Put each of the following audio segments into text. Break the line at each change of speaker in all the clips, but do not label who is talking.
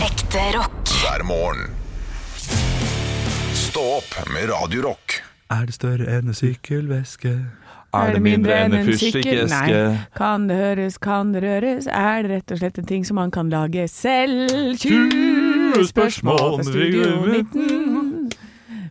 Ekte rock.
hver morgen. Stå opp med Radio Rock.
Er det større enn en sykkelveske?
Er det mindre enn en fyrstikkeske?
Nei. Kan det høres, kan det røres? Er det rett og slett en ting som man kan lage selv? 20 spørsmål fra Studio 19.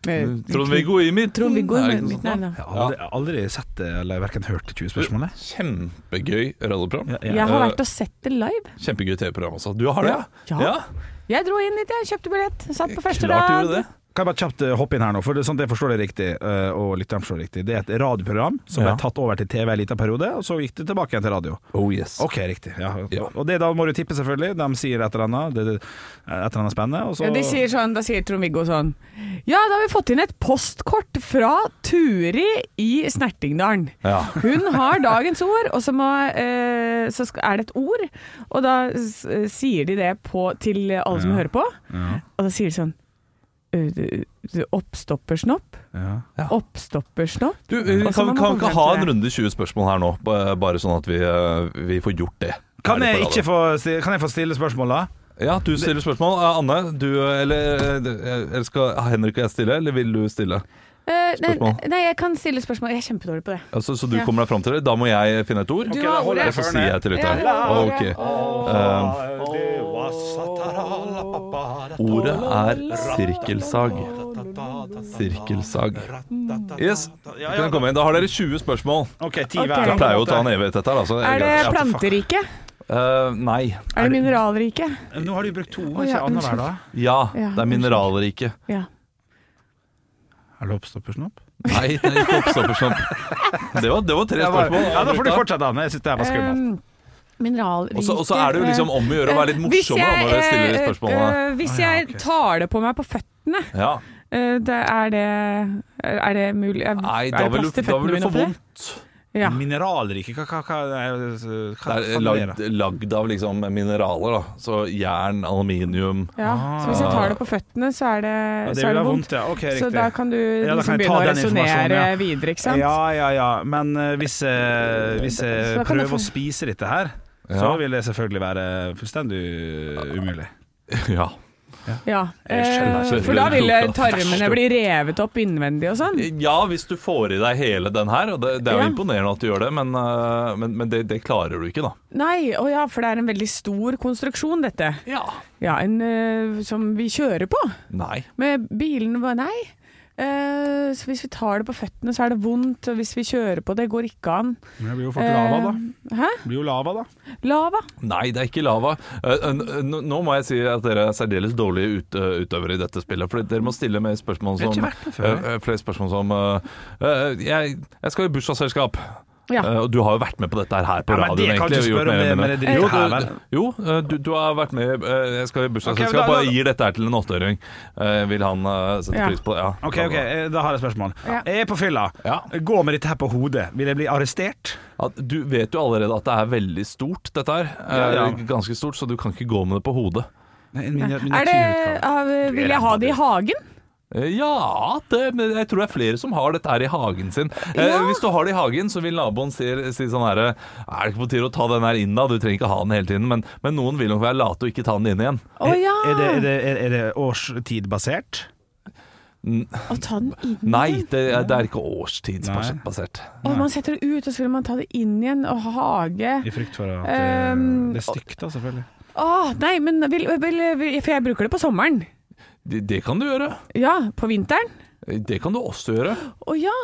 Med
Mm, Trond-Viggo i midten.
Trond-Viggo
Er
i
det ikke sånn. noe
midten.
sånt?
Nei,
Jeg har aldri, aldri sett det, eller hverken hørt det 20 spørsmålet.
Kjempegøy radioprogram.
Ja, eh,
da. Jeg har vært og sett det live.
Kjempegøy TV-program også. Du har det,
Ja. Jeg dro inn dit, jeg kjøpte billett. Satt på første
Klart du
rad.
gjorde det.
Kan jeg bare kjapt eh, hoppe inn her nå, for det, er sånn at jeg forstår det riktig, eh, og lytteren forstår det riktig. Det er et radioprogram som
Ja.
ble tatt over til TV en liten periode, og så gikk det tilbake igjen til radio.
Oh yes.
Ok, riktig. Ja.
Ja.
Og det da må du tippe, selvfølgelig. De sier et eller annet, det, det- et eller annet spennende, og så
Ja, de sier sånn, da sier Trond-Viggo sånn Ja, da har vi fått inn et postkort fra Turi i Snertingdalen.
Ja.
Hun har dagens ord, og så, må, eh, så sk- er det et ord. Og da s sier de det på, til alle som
Ja.
hører på.
Ja.
Og da sier de sånn «Øh, du- du- Oppstoppersnopp?
Ja.
Oppstoppersnopp?
Du, vi
Og så
kan,
må
kan
man komme
ikke ha
frem til
en
det.
runde 20 spørsmål her nå, ba- bare sånn at vi, eh, vi får gjort det.
Kan
Her
jeg
på
ikke
radioen.
få, sti- kan jeg få stille spørsmål, da?
Ja, du stiller spørsmål. Eh, Anne, du eh, eller, eh, eller skal Henrik og jeg stille, eller vil du stille?
Eh, nei,
Spørsmål.
nei, jeg kan stille spørsmål. Jeg er kjempedårlig på det.
Altså, så du
Ja.
kommer deg fram til det? Da må jeg finne et ord?
Du har ordet.
Og så sier jeg til lytteren.
Ja, Eh, du har ordet.
Ok.
Ehm,
Um, ordet er sirkelsag. Sirkelsag. Yes, du kan komme inn. Da har dere 20 spørsmål.
OK, ti
Ok.
hver.
Det pleier jo å ta en evighet, dette her. Altså.
Er det
Ja.
planterike?
Eh, nei.
Er det mineralrike?
Nå har du brukt to,
Å,
ikke
ja,
annenhver, da?
Ja,
Ja,
det er mineralrike.
Ja.
Er det oppstoppersnopp?
Nei, det er ikke oppstoppersnopp. Det var, det var tre
Ja,
spørsmål.
da får du fortsette, Anne. Jeg syns det her var skummelt.
Um, mineralrike Eh,
Og så- og så er det jo liksom om å gjøre å være litt
Hvis
morsommere
jeg,
når dere stiller de
eh,
spørsmålene. Ah,
eh, hvis
Å, ja,
jeg
ok.
tar det på meg på føttene,
Ja.
eh, det er det Er det mulig? Er,
Nei,
er
da
det
vil
plass
du,
til
da
føttene
vil du
mine
få
oppi der?
vondt.
Ja.
Mineralrike? Hva, hva, hva, hva, hva
Det er
faen er
lagd, lagd av liksom mineraler, da. Så jern, aluminium
ja. Så hvis jeg tar det på føttene, så er det,
Ja, det
så
vil
er det
ha vondt,
vondt.
ja. Ok,
Så
riktig.
da kan du
da
liksom
kan jeg ta
begynne å
den informasjonen,
resonnere
ja.
videre, ikke sant?
Ja, ja, ja. Men eh, hvis, eh, hvis jeg
Så da kan du
prøver å
få-
spise dette her, så
Ja.
vil det selvfølgelig være fullstendig umulig.
Ja.
Ja.
Jeg skjønner,
Eh,
skjønner.
For da vil tarmene bli revet opp innvendig og sånn.
Ja, hvis du får i deg hele den her. Og det, det er jo
Ja.
imponerende at du gjør det, men, eh, men, men det, det klarer du ikke, da.
Nei, å ja, for det er en veldig stor konstruksjon, dette.
Ja.
Ja, en eh, som vi kjører på.
Nei.
Med bilen var nei. Eh, så hvis vi tar det på føttene, så er det vondt. Og hvis vi kjører på det, går ikke an.
Men det blir jo
Eh,
fort lava, da.
Hæ?
Det blir jo lava, da.
Lava.
Nei, det er ikke lava. Eh, eh, Nå nå må jeg si at dere er særdeles dårlige ut, eh, utøvere i dette spillet. For dere må stille med spørsmål
Jeg har
som
ikke vært med før,
eh, eh, Flere spørsmål som eh, eh, jeg, jeg skal i bursdagsselskap.
Ja.
Eh, Og du har jo vært med på dette her på
Ja, men
radioen,
det kan
egentlig. og
du
gjort
spørre om
mer
det-
eller
med det
mindre.
drittet her, vel?
jo, du, jo eh, du, du har vært med eh, Jeg skal i
Ok, da-
bursdagsselskap,
da-
og jeg gir dette her til en åtteåring. Eh, Vil han eh, sette
Ja.
pris på det? Ja.
OK, ok, eh, da har jeg et spørsmål.
Ja.
Jeg er på fylla.
Ja.
Gå med dette her på hodet. Vil jeg bli arrestert?
Ja, du vet jo allerede at det er veldig stort, dette her. Eh,
Ja, ja.
Ganske stort, så du kan ikke gå med det på hodet.
Nei, en mini-
Er det,
miniatyrutgave.
av- vil jeg ha det i hagen?
Eh, Ja, det, men jeg tror det er flere som har dette her i hagen sin. Eh,
Ja.
Hvis du har det i hagen, så vil naboen si, si sånn her Er det ikke på tide å ta den her inn, da? Du trenger ikke ha den hele tiden. Men, men noen vil nok være late og ikke ta den inn igjen.
Å ja!
Er det, er det, er- er det årstidbasert?
Å ta den inn
Nei,
igjen.
det, er- det er ikke årstidsbasert.
Å, man setter det ut, og så vil man ta det inn igjen. Og hage.
I frykt for at eh,
Um,
det er stygt, da, selvfølgelig.
Å, nei, men vil, vil, vil, For jeg bruker det på sommeren.
Det, det kan du gjøre. Eh,
Ja, på vinteren.
Det kan du også gjøre.
Å ja!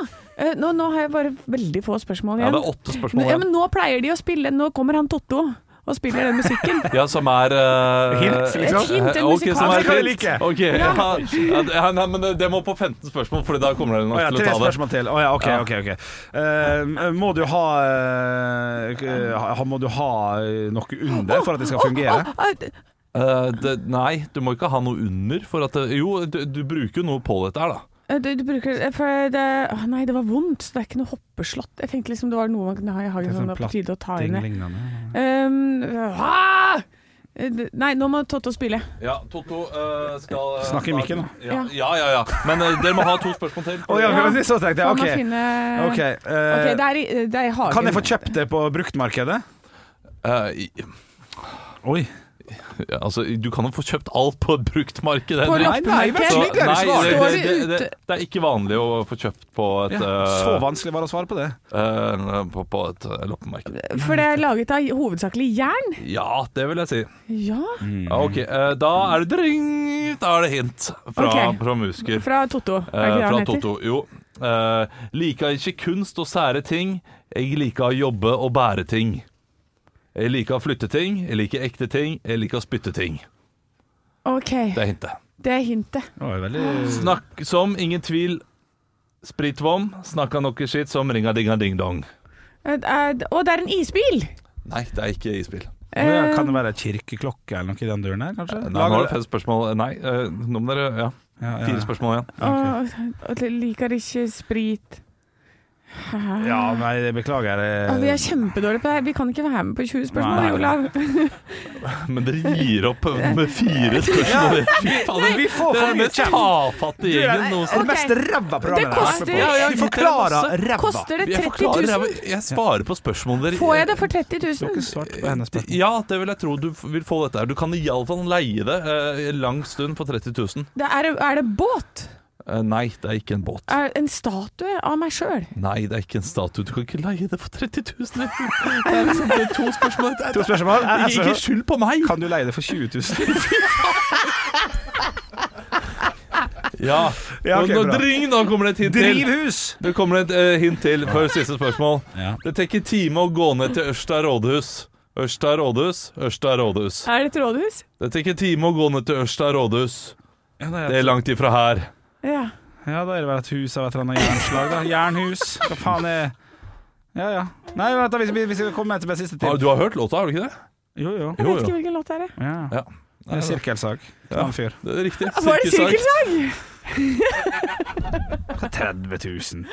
Eh, nå, nå har jeg bare veldig få spørsmål
Ja,
igjen.
det er åtte spørsmål
Men- ja,
igjen.
men nå pleier de å spille Nå kommer han Totto og spiller den musikken.
Ja, som er eh,
Hint, liksom.
Et hint, en
eh, ok, som er
musikalsk-
Det kan jeg
hint.
like.
Ok, ja. Ja, det- ja, nei, men eh, det- det må på 15 spørsmål, for da kommer dere
Å
nok
ja,
til å
tre
ta det.
spørsmål til. Å ja, ok,
Ja.
ok. ok Eh, Må du ha eh, ha- Må du ha noe under for at det skal fungere?
Å, å,
Eh, det, nei, du må ikke ha noe under for at det, Jo, du, du bruker jo noe på dette her, da.
Eh, Du, du bruker eh, for det Å nei, det var vondt. så Det er ikke noe hoppeslott. Jeg tenkte liksom det var noe man kunne ha i hagen som det var på tide å ta inn. i.
lignende.
Um, ah! Eh, det- Nei, nå må Totto spille.
Ja, Totto eh, skal eh,
Snakk i
da-
mikken, da.
Ja, ja, ja. ja. Men eh, dere må ha to spørsmål til.
Å ja,
Ja.
men så tenkte
Så må
jeg.
finne
OK. ok,
OK,
eh,
det er, i, eh, det er i hagen.
kan jeg få kjøpt det på bruktmarkedet?
Eh, i-
Oi.
Ja, altså, du kan jo få kjøpt alt på et bruktmarked.
På
Henrik.
nei, nei,
loppemarked?
vær så
Så-
snill, det er det
nei,
svaret.
Står
det, det,
det
det,
ute?
det er ikke vanlig å få kjøpt på et,
Ja,
eh,
så vanskelig var det å svare på det.
eh, på, på et eh, loppemarked.
For det er laget av hovedsakelig jern.
Ja, det vil jeg si.
Ja.
Mm.
Ja, ok, eh, Da er det dring, da er det hint fra,
Ok.
fra Musker.
Fra Totto. Er det
Eh,
ikke
fra
det han heter?
Totto. Jo. Uh, lika ikke kunst og sære ting. Jeg liker å jobbe og bære ting. Jeg liker å flytte ting. Jeg liker ekte ting. Jeg liker å spytte ting.
OK,
Det er hintet.
det er hintet.
Det var jo veldig
Snakk som, ingen tvil. Spritvom. Snakka noe skitt som ringa dinga ding dong.
Eh, eh, Å, det er en isbil!
Nei, det er ikke isbil.
Ja, Kan det være kirkeklokke eller noe i den duren her, kanskje?
Nei, Eh, nå
Lager-
er det fem spørsmål Nei, eh, nå må dere Ja, Eh,
Ja, ja.
fire spørsmål igjen.
Og, og liker ikke sprit. Hæ?
Ja, nei, jeg beklager. eh,
Å, vi er kjempedårlige på det her. Vi kan ikke være med på 20
Nei,
spørsmål,
nei.
Olav.
Men dere gir opp eh, med fire spørsmål. Fy faen,
Vi får
det er
for
den
mye
mest
kjeft!
tafatte gjengen
nei,
Det
noensinne.
Ok.
mest ræva programmet
Det koster-
jeg har vært med på.
Ja, ja,
Vi
det er
forklarer ræva.
Koster det
Jeg
30
forklarer,
000?
jeg- Jeg svarer på spørsmålene dere
Får jeg det for 30 000?
svart på hennes spørsmål.
Ja, det vil jeg tro du f- vil få dette her. Du kan iallfall leie det eh, en lang stund for 30 000.
Det er, er det båt?
Eh, nei, det er ikke en båt.
Er en statue av meg sjøl?
Nei, det er ikke en statue. Du kan ikke leie det for 30 000. Det er liksom det er to spørsmål. Det er-
To spørsmål. Eh,
Ikke ikke
altså,
skyld på meg!
Kan du leie det for 20 000?
Ja,
Ja, ok,
nå, nå,
bra.
dring, nå kommer det et hint til.
Drivhus!
Det kommer et eh, hint til før siste spørsmål.
Ja.
Det tar ikke time å gå ned til Ørsta rådhus. Ørsta rådhus, Ørsta rådhus.
Er det et rådhus?
Det tar ikke time å gå ned til Ørsta rådhus.
Ja, da
Det
er
er
det
langt ifra her.
Ja.
vel et hus av et eller annet jernslag, da. Jernhus. Hva faen er Ja, ja. Nei, vent, da, vi skal- vi skal komme til det siste
Har-
til.
Ah, Du har hørt låta, har du ikke det?
Jo, jo.
Jeg vet ikke hvilken låt det er. jeg.
Ja.
Ja.
Det er sirkelsag.
Ja.
Fyr.
Det er riktig.
Var det
Silkesak.
sirkelsang?
30 000.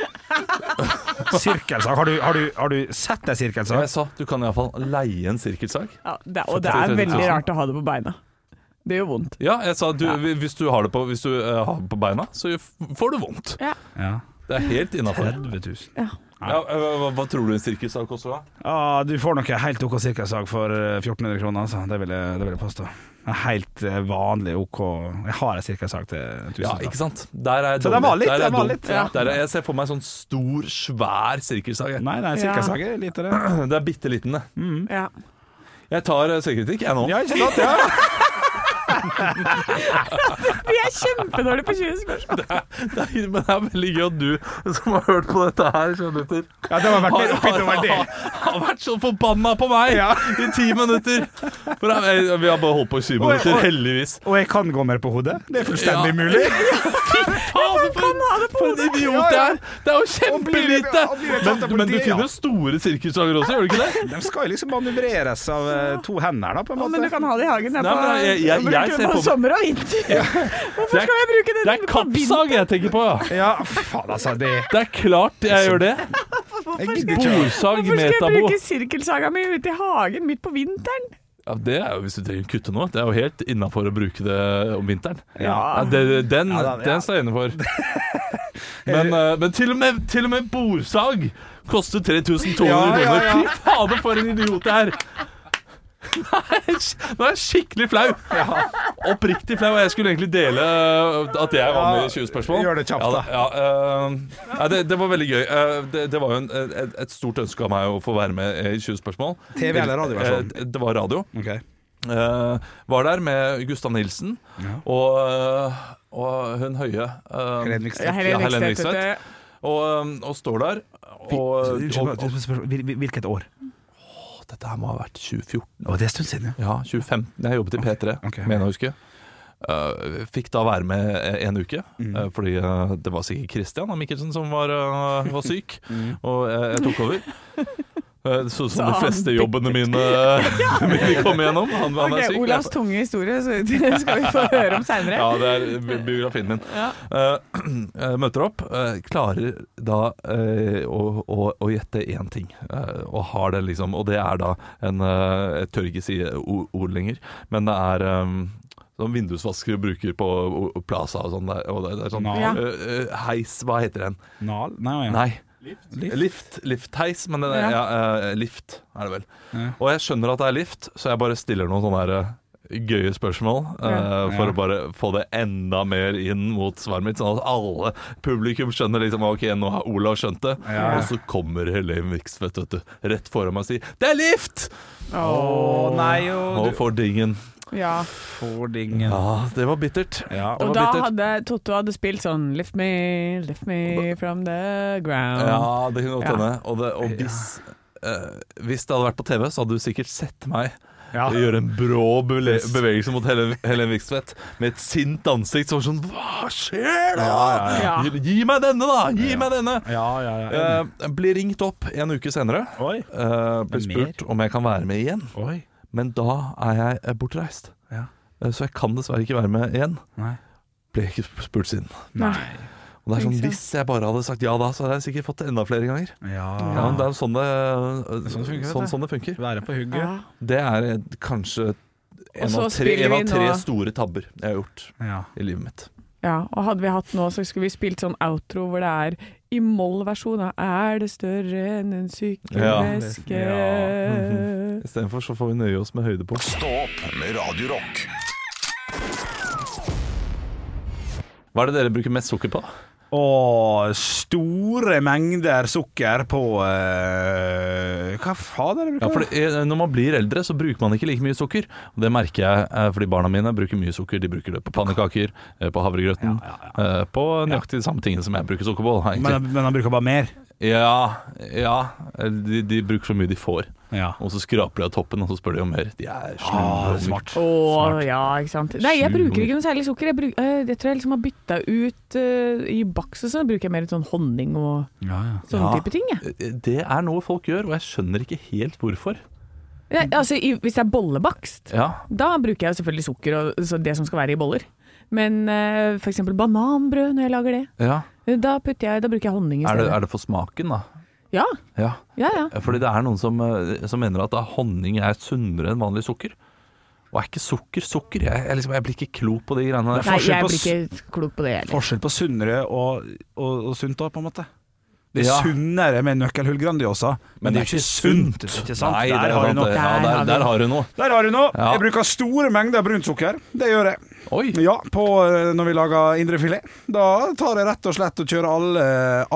Sirkelsag. Har du, har du, har du sett deg
Ja,
sirkelsag?
jeg sa, du kan iallfall leie en sirkelsag.
Ja, det,
og det er 30 000. veldig rart
å ha det på beina. Det gjør vondt.
Ja, jeg sa du,
Ja.
hvis du har det på, hvis du, eh, har det på beina, så f- får du vondt.
Ja.
Det er helt innafor.
30 000.
Ja, eh, hva, hva tror du en sirkelsag koster, da?
Ja, du får nok en helt OK sirkelsag for eh, 1400 kroner, altså. Det vil jeg, det vil jeg påstå. En helt eh, vanlig OK Jeg har en sirkelsag til 1000.
Ja, ikke sant? Der er jeg
Så
dum.
den var litt,
Der er jeg
den var
dum.
litt, ja.
Der er, jeg ser for meg en sånn stor, svær sirkelsag. jeg.
Nei, nei, sirkelsag er lite, det.
Det er bitte liten, det.
Ja.
Jeg tar eh, selvkritikk, jeg nå.
Ja, ikke sant? Ja.
Vi er kjempedårlige på 20 spørsmål.
Det er, men det er veldig gøy at du som har hørt på dette her, skjønner du,
ja, det var
har,
verdt det.
har,
Oppgitt over det.
har, har vært så forbanna på meg
Ja.
i ti minutter. For jeg, vi har bare holdt på i syv
Oi,
minutter,
oi.
heldigvis.
Og jeg kan gå mer på hodet. Det er fullstendig
Ja.
mulig.
Faen, for, for en idiot jeg er! Det er jo
Og blir det-
kjempelite!
og blir det tatt
Men,
av
men du
politiet,
finner
ja.
jo store sirkussager også, gjør du ikke det?
De skal jo liksom manøvreres av eh, to hender, da, på en måte.
Men du kan ha det i hagen. Jeg,
Nei, men jeg- jeg- jeg ser på-
på sommer og vinter. Hvorfor
Det er-
skal jeg bruke
Det
den
er
på vinter?
kappsag jeg tenker på, ja.
Ja, faen, altså. Det
Det er klart jeg gjør det.
Jeg gidder
Bordsag,
ikke.
Hvorfor skal jeg
metabo.
bruke sirkelsaga mi ute i hagen midt på vinteren?
Ja, det er jo hvis du trenger å kutte noe. Det er jo helt innafor å bruke det om vinteren. Ja,
Ja.
det, den,
Ja, da, ja.
den står jeg inne for. Men, eh, men til, og med, til og med bordsag koster 3200
Ja, ja, ja.
kroner. Fy fader, for en idiot jeg er! Nei, Nå er jeg skikkelig flau. Oppriktig flau. og Jeg skulle egentlig dele eh, at jeg var med i 20 spørsmål.
Gjør det kjapt,
Ja,
da.
ja, eh, nei, det, det var veldig gøy. Eh, det, det var jo en, et, et stort ønske av meg å få være med i 20 spørsmål.
TV eller radioversjon?
Eh, det var radio.
Ok.
Eh, var der med Gustav Nilsen
Ja.
og, eh, og hun høye. eh,
Helene Vikstvedt.
Jeg heller
Ja, Helene
Vikstvedt,
Vikstvedt.
vet du.
og, eh, og står der. Og,
Unnskyld,
og,
bare
og,
et spørsmål. Hvil- hvil- Hvilket år?
og dette her må ha vært 2014.
Å, det er en stund siden, ja.
Ja, 2015. Jeg jobbet i P3,
ok, ok.
mener jeg å huske. Eh, fikk da være med en uke,
Mm.
eh, fordi eh, det var sikkert Christian og Mikkelsen som var, eh, var syk,
Mm.
og eh, jeg tok over. Eh, så som de
han
fleste jobbene mine, mine kom gjennom. Han, han er
Ok,
syk.
Olavs tunge historie så det skal vi få høre om seinere.
Ja, det er bi- biografien min. Eh, eh, møter opp, eh, klarer da eh, å, å, å gjette én ting, eh, og har det liksom Og det er da en eh, Jeg tør ikke si o- ord lenger, men det er um, Sånn vindusvaskere bruker på o- o- Plaza og sånn. der, Og det, det er sånn
Nal?
eh, eh, Heis, hva heter den?
Nal? Nei, ja.
Nei. Lift. Liftheis, men det, er- ja.
Ja.
eh, lift er det vel.
Ja.
Og jeg skjønner at det er lift, så jeg bare stiller noen sånne der, gøye spørsmål
Ja.
eh, for
Ja.
å bare få det enda mer inn mot svaret mitt, sånn at alle publikum skjønner liksom OK, nå har Olav skjønt det.
Ja.
Og så kommer Helene Vikstvedt vet du, rett foran meg og sier 'Det er lift!'
Å nei, jo
Og får dingen.
Ja.
får dingen.
Ja, det var bittert.
Ja.
Det
Og
var
da
bittert.
hadde Totto hadde spilt sånn Lift me, lift me from the ground.
Ja, det kunne godt
Ja.
hende. Og, det, og hvis, eh, hvis det hadde vært på TV, så hadde du sikkert sett meg
Ja.
gjøre en brå bule- bevegelse mot Helen, Helen Vikstvedt med et sint ansikt som sånn Hva skjer da?!
Ja,
ja, ja.
Gi, gi meg denne, da! Gi meg denne!
Ja, ja, ja.
Eh, blir ringt opp en uke senere.
Oi.
Eh, blir
Men mer?
spurt om jeg kan være med igjen.
Oi.
Men da er jeg eh, bortreist,
Ja.
Eh, så jeg kan dessverre ikke være med igjen.
Nei.
Ble ikke spurt siden.
Nei.
Og det er sånn,
Ikke sant.
Hvis jeg bare hadde sagt ja da, så hadde jeg sikkert fått det enda flere ganger.
Ja.
Ja, men Det er jo sånn det,
sånn det funker, vet
sånn,
du.
sånn det funker.
Være på hugget.
Ja.
Det er eh, kanskje en
så
av tre,
spiller
en
vi
av tre
nå-
store tabber jeg har gjort
Ja.
i livet mitt.
ja. Og hadde vi hatt nå, så skulle vi spilt sånn outro hvor det er i moll-versjon av Er det større enn en sykkelveske?
Ja.
Istedenfor så får vi nøye oss med høyde på.
Stå opp med Radio Rock.
Hva er det dere bruker mest sukker på?
Og store mengder sukker på eh, Hva faen er det du
Ja, for
bruker?
det, er- Når man blir eldre, så bruker man ikke like mye sukker. Og Det merker jeg eh, fordi barna mine bruker mye sukker. De bruker det på pannekaker, eh, på havregrøten,
Ja, ja,
eh, på nøyaktig de samme tingene som jeg bruker sukker på. da,
men,
egentlig.
han- men han bruker bare mer.
Ja, ja eh, de, de bruker så mye de får.
Ja.
Og så skraper de av toppen, og så spør de om mer. De er slu.
Ah, smart.
Å ja, ikke sant. Nei, jeg bruker ikke noe særlig sukker. Jeg, bruk, eh, jeg tror jeg liksom har bytta ut eh, I baks og sånn bruker jeg mer sånn honning og
Ja, ja.
Ja.
sånne type ting. Jeg.
Eh, Det er noe folk gjør, og jeg skjønner ikke helt hvorfor.
Nei, altså, i, hvis det er bollebakst,
Ja,
da bruker jeg jo selvfølgelig sukker og så det som skal være i boller. Men eh, for f.eks. bananbrød, når jeg lager det,
ja.
da, putter jeg, da bruker jeg honning i
Er, det,
stedet.
er det for smaken, da?
Ja,
Ja.
ja, ja.
Fordi det er noen som, eh, som mener at da honning er sunnere enn vanlig sukker. Og er ikke sukker sukker? Jeg, jeg, liksom, jeg blir ikke klok på de greiene der.
Nei,
forskjell
jeg
på
blir ikke klok på det heller.
Forskjell på sunnere og, og, og sunt, da, på en måte. Det er
Ja.
sunnere med nøkkelhull Grandiosa, men det er jo ikke sunt. Ikke sant?
Nei,
der,
det er
har du
sant,
noe.
det. Ja,
Der har
der,
du
der har du noe.
der har du noe!
Ja.
Jeg bruker store mengder brunt sukker. Det gjør jeg.
Oi!
Ja, på, eh, når vi lager indrefilet. Da tar jeg rett og slett og kjører alle,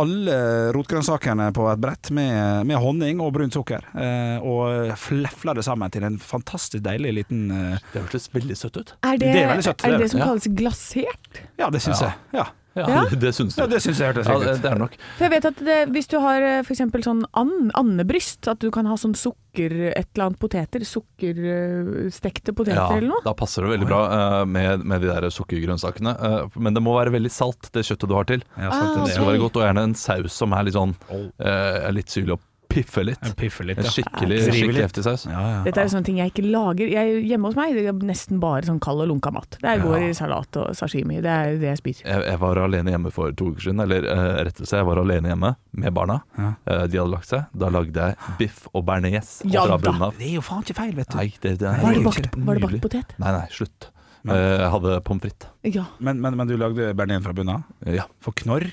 alle rotgrønnsakene på et brett med, med honning og brunt sukker. eh, Og flefler det sammen til en fantastisk deilig liten eh,
Det hørtes veldig søtt ut.
Er det,
Det er veldig søtt,
er det,
det.
det som
Ja.
kalles glasert?
Ja, det syns
Ja.
jeg. Ja.
Ja.
Det syns du.
ja, det syns jeg hørtes
Ja,
riktig
det
ut.
det er nok.
For jeg vet at det, hvis du har eh, for eksempel sånn and, andebryst, at du kan ha sånn sukker, et eller annet poteter, sukkerstekte poteter
Ja,
eller noe.
da passer det veldig bra eh, med, med de der sukkergrønnsakene. eh, men det må være veldig salt, det kjøttet du har til.
Ah,
Ja,
Det
sant, det er
skal
ok.
være godt, og gjerne en saus som er litt sånn
det.
eh, er litt syrlig og piffer litt.
Jeg piffer litt,
En
ja.
skikkelig,
Ja,
skikkelig
litt.
heftig saus.
ja, ja.
Dette er jo sånne ting jeg ikke lager. Jeg, hjemme hos meg det er nesten bare sånn kald og lunka mat. Det er går i salat og sashimi. Det er jo det jeg spiser.
Jeg, jeg var alene hjemme for to uker siden, eller eh, rettelse, jeg var alene hjemme med barna.
Ja.
Eh, de hadde lagt seg. Da lagde jeg biff og bearnés
Ja
fra
da.
bunnen av.
Det er jo faen ikke feil, vet du.
Nei, det, det er
Var det
helt
bakt, var det
nydelig.
bakt potet?
Nei, nei, slutt.
Nei.
Eh, jeg hadde pommes frites.
Ja.
Men, men, men du lagde bearnés fra bunnen av?
Eh, Ja.
For knorr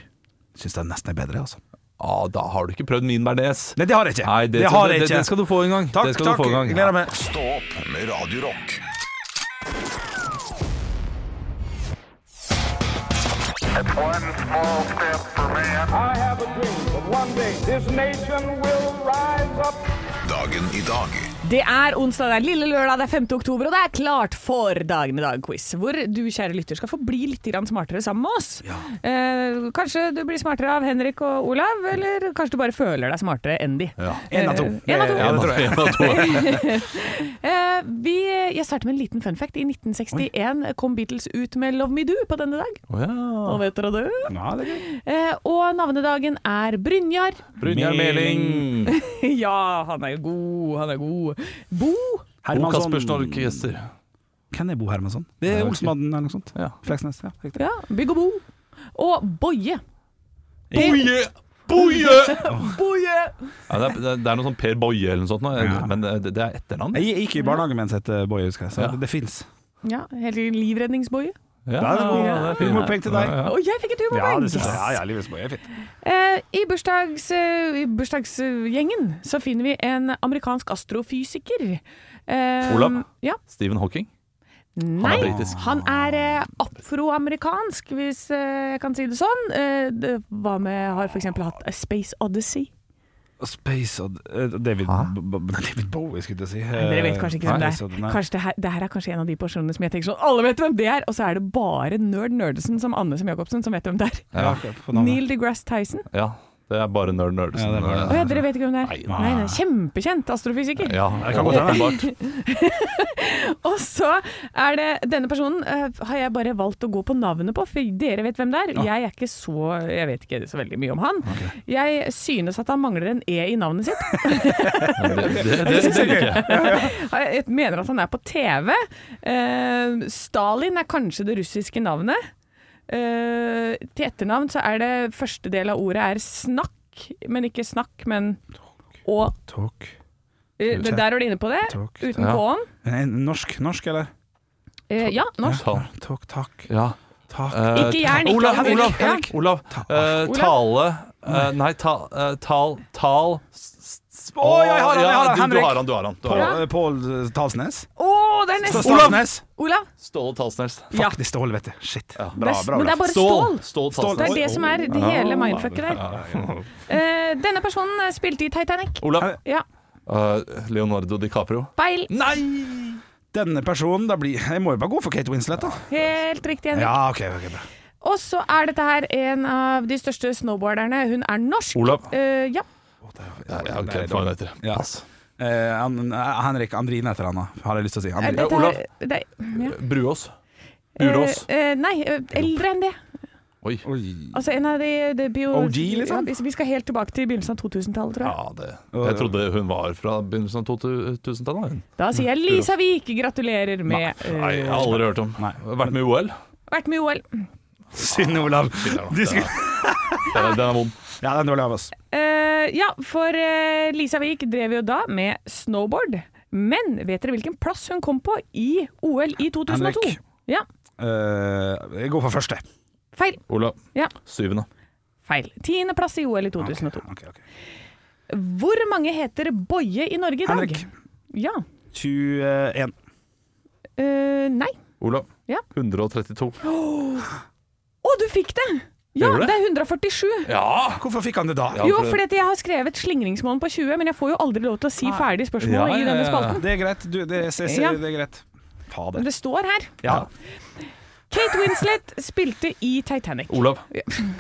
syns jeg nesten er bedre, altså.
Ah, da har du ikke prøvd min bearnés.
Nei, det har jeg ikke.
Nei, det,
det har jeg
det,
ikke.
det skal du få en gang.
Takk,
det skal
takk.
Du få en gang.
Gleder meg.
Stå opp med Radio Rock.
One small step for man.
I have a dream that one day this nation will rise up.
Dagen i dag
Det er onsdag, det er lille lørdag, det er 5. oktober, og det er klart for Dagen i dag-quiz. Hvor du, kjære lytter, skal få bli litt grann smartere sammen med oss. Eh, kanskje du blir smartere av Henrik og Olav, eller kanskje du bare føler deg smartere enn de.
Ja.
Én av to.
Eh, en av to.
Ja, det tror jeg.
En av to.
Eh, vi, jeg starter med en liten fun fact. I 1961 kom Beatles ut med 'Love Me Do' på denne dag.
Å ja.
Nå vet dere det.
Ja, det er gøy.
Eh, og navnedagen er Brynjar.
Brynjar Meling.
ja, han er jo god, han er god. Bo.
Bo
Hermansson.
Kaspersen Orkester.
Hvem er Bo Hermansson? Det er
Ja, ok.
Olsmannen eller noe sånt.
Ja.
Fleksnes, ja. Riktig.
Ja, Bygg og Bo. Og Boje.
Boje! Boje!
Boje!
Ja, det, er, det er- det er noe sånn Per Boje eller noe sånt, nå, men eh, det, det er etternavn.
Jeg gikk i barnehage mens jeg het Boje, husker jeg, så
Ja.
det, det fins.
Ja, helt livredningsboje.
Ja,
Ja, det er god.
det er fint.
Humorpoeng til deg.
Ja, ja.
Og jeg fikk et
Ja,
humorpoeng!
det synes jeg. Ja, ja, livets Boje er fint.
Eh, I bursdags, eh, i bursdagsgjengen så finner vi en amerikansk astrofysiker. Eh,
Olav?
Ja.
Stephen Hawking?
Nei,
er britisk.
han er eh, afroamerikansk, hvis eh, jeg kan si det sånn. Eh, det, hva med har f.eks. hatt A Space Odyssey?
Space og David,
Hæ?
B- B- David Bowie, skulle jeg si.
Dere vet
Eh,
kanskje ikke hvem det er. Kanskje det, her, det her er kanskje en av de personene som jeg tenker sånn Alle vet hvem det er! Og så er det bare nerd Nerdesen som Anne som Jacobsen som vet hvem det er.
Ja,
Neil deGrasse Tyson.
Ja, det er bare nerd
Ja,
nerdsen.
det er bare
Å ja, dere vet ikke hvem det er?
Nei.
Nei, nei, Kjempekjent astrofysiker.
eh, Ja,
Det kan godt hende.
åpenbart.
Og så er det Denne personen eh, har jeg bare valgt å gå på navnet på, for dere vet hvem det er. Jeg er ikke så Jeg vet ikke så veldig mye om han. Jeg synes at han mangler en E i navnet sitt.
Men Det, det, det, det liker jeg.
Jeg mener at han er på TV. Eh, Stalin er kanskje det russiske navnet. Eh, til etternavn så er det første del av ordet er snakk, men ikke snakk, men og.
Talk.
Eh, men der var du inne på det.
Talk.
Uten
Ja.
K-en.
Eh, Norsk, norsk, eller?
Eh, ja, norsk.
Ta-
Talk, takk,
Ja.
takk.
Eh,
Ikke jern, ikke
Olav,
alkohol.
Olav, Olav.
Ja.
Eh,
Olav.
tale eh, Nei, ta, eh, tal Tal s- s-
Å, jeg har han, jeg har han,
Ja, du,
Henrik.
du har han, du har han. Du har han.
Pål- Pål eh, Talsnes?
Å, det er nesten
Olav!
Talsnes?
Olav!
Ståle Talsnes.
Ja.
Fuck, det er Stål, vet du. Shit.
Ja.
Bra,
Det er-
bra.
men det
bra.
er bare
Stål.
stål.
Stål
Det er
Talsnes.
det som er det hele mindfucket der. Eh, denne personen eh, spilte i Titanic.
Olav.
Ja,
Eh, Leonardo DiCaprio.
feil.
Denne personen, da blir Jeg må jo bare gå for Kate Winslet, da.
Helt riktig, Henrik.
Ja, OK, ok, bra.
Og så er dette her en av de største snowboarderne. Hun er norsk.
Olav.
Eh, ja.
Ja, ja, ok, det var det heter.
Ja.
Pass.
Eh, han, Henrik Andrine heter han, da, har jeg lyst til å si.
Eh,
Andrine.
Dette her-
Olav.
det- ja.
Bruås.
Eh,
Urås.
eh, nei, eh, eldre enn det.
Oi.
Oi.
Altså en av de, de bio...
OG, liksom?
Ja, vi skal helt tilbake til begynnelsen av 2000-tallet, tror jeg.
Ja, det. Jeg trodde hun var fra begynnelsen av 2000-tallet. hun.
Da sier jeg Lisa Wiik gratulerer med
Nei, jeg
eh,
har aldri hørt om.
Nei.
Vært med i OL.
Vært med i OL.
Synd, Olav. Du skal...
Den er, den er vond.
Ja, den er dårlig av oss.
Eh, ja, for eh, Lisa Wiik drev jo da med snowboard. Men vet dere hvilken plass hun kom på i OL i 2002?
Henrik.
Ja,
Eh, jeg går for første.
feil.
Olav.
Ja.
Syvende.
Feil. Tiendeplass i OL i 2002.
Ok, ok.
Hvor mange heter Boje i Norge i dag?
Henrik.
Ja.
21.
Eh, nei.
Olav.
Ja.
132.
Å, du fikk det! Ja,
Gjorde du det?
det er 147.
Ja!
Hvorfor fikk han det da?
Ja,
jo,
for-
fordi at jeg har skrevet slingringsmålen på 20, men jeg får jo aldri lov til å si
Ah.
ferdig
Ja,
spørsmålet
ja,
i denne
ja, ja.
spalten.
Det er greit. Du, det, jeg ser-
Ja.
det er greit.
Men
Fader.
det står her.
Ja.
Kate Winslet spilte i Titanic.
Olav.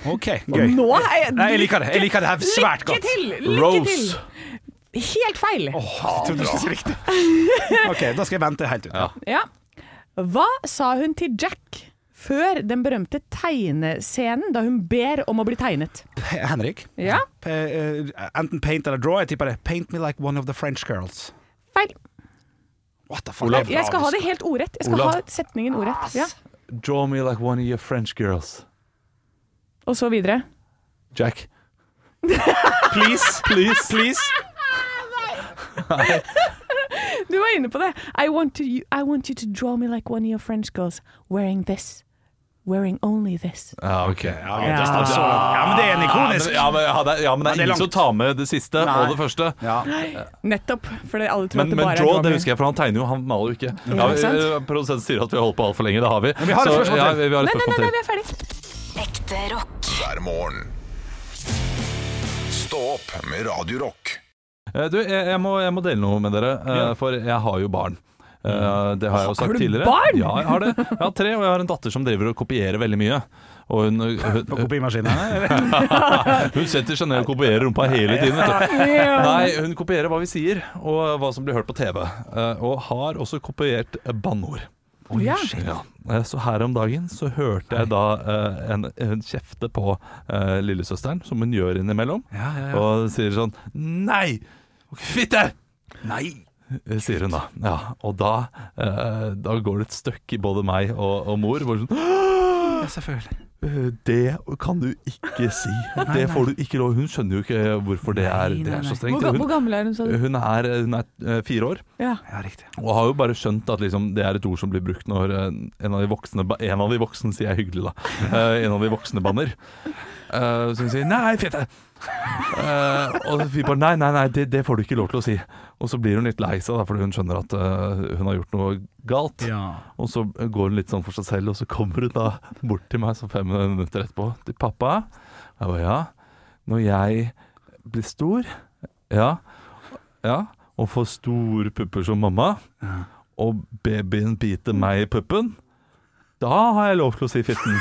OK, gøy.
Nå er jeg
Nei, jeg liker det. Jeg liker det her svært
Lykke
godt.
til! Lykke
Rose.
til! Helt feil.
Åh, jeg Ah, trodde du skulle si riktig. OK, da skal jeg vente helt ut.
Ja.
Ja. Hva sa hun til Jack før den berømte tegnescenen, da hun ber om å bli tegnet?
P- Henrik.
Ja,
P- eh, enten paint eller draw. Jeg tipper det. Paint me like one of the French girls.
feil.
What the fuck?
Olav.
Jeg skal ha det helt ordrett. Jeg skal
Olav.
ha setningen ordrett. Ja.
Draw me like one of your French girls.
Og så videre.
Jack.
Please. Please. Please.
Du var inne på det. I want, to, I want you to draw me like one of your French girls wearing this. Wearing only this.
Ja, ok. Ja,
Ja, det står så langt. ja, men det er en ikonisk.
men, ja, men, ja, det, er- ja, men det
Men
er
det er
ingen
langt.
som tar med det siste
Nei.
og det første.
Ja.
Nettopp. Fordi alle tror
Men,
at det
men
bare
draw,
er
det husker jeg, for han tegner jo, han maler jo ikke. Ja,
ikke sant?
eh, Produsenten sier at vi har holdt på altfor lenge, det har vi.
vi har et spørsmål
ja,
til.
vi, vi har et
Nei, nei, nei,
spørsmål
nei,
til.
vi er ferdig.
Ekte rock.
hver morgen. Stå opp med Radio Rock.
Eh, Du, jeg, jeg, må, jeg må dele noe med dere, eh, for jeg har jo barn. Eh, det har jeg jo sagt
du
tidligere.
barn?
Ja, jeg har det. Jeg har tre, og jeg har en datter som driver og kopierer veldig mye. Og hun,
På
hun,
kopimaskinen.
hun setter seg ned og kopierer rumpa hele tiden. Vet du. Nei, hun kopierer hva vi sier, og hva som blir hørt på TV. eh, Og har også kopiert eh, banneord.
Ja.
Ja. Eh, Så her om dagen så hørte jeg da eh, en, en kjefte på eh, lillesøsteren, som hun gjør innimellom,
Ja, ja, ja.
og sier sånn Nei! Fitte!
Nei.
Eh, Sier hun da. Ja, og da, eh, da går det et støkk i både meg og, og mor. Hvor sånn,
Ja, selvfølgelig.
«Øh, det kan du ikke si. Det får du ikke lov Hun skjønner jo ikke hvorfor det er, det er så
Hvor,
strengt.
ga- hvor
Hun,
gammel er hun, sa du?
hun, er, hun er eh, fire år.
Ja.
Ja, riktig.
Og har jo bare skjønt at liksom, det er et ord som blir brukt når eh, en av de voksne ba- En av de voksne sier jeg hyggelig, da. Eh, en av de voksne banner. Eh, så hun sier 'nei, fitte'. Eh, og vi bare Nei, nei, nei, det, det får du ikke lov til å si. Og så blir hun litt lei seg, da, fordi hun skjønner at eh, hun har gjort noe galt. Og så går hun litt sånn for seg selv, og så kommer hun da bort til meg så fem minutter etterpå. Til pappa. Jeg bare ja. Når jeg blir stor, ja, ja, og får store pupper som mamma, og babyen biter meg i puppen, da har jeg lov til å si fitten.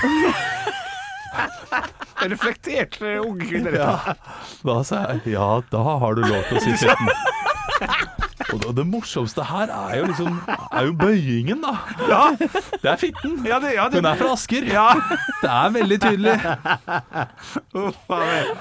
Reflektert eh, ung kvinne.
Ja. Da sa jeg ja, da har du lov til å si fitten. Og det- det morsomste her er jo liksom Er jo bøyingen, da. Ja, Det er fitten.
Ja, det, ja, det,
Hun er fra Asker.
ja.
Det er veldig tydelig.
Uff, faen meg.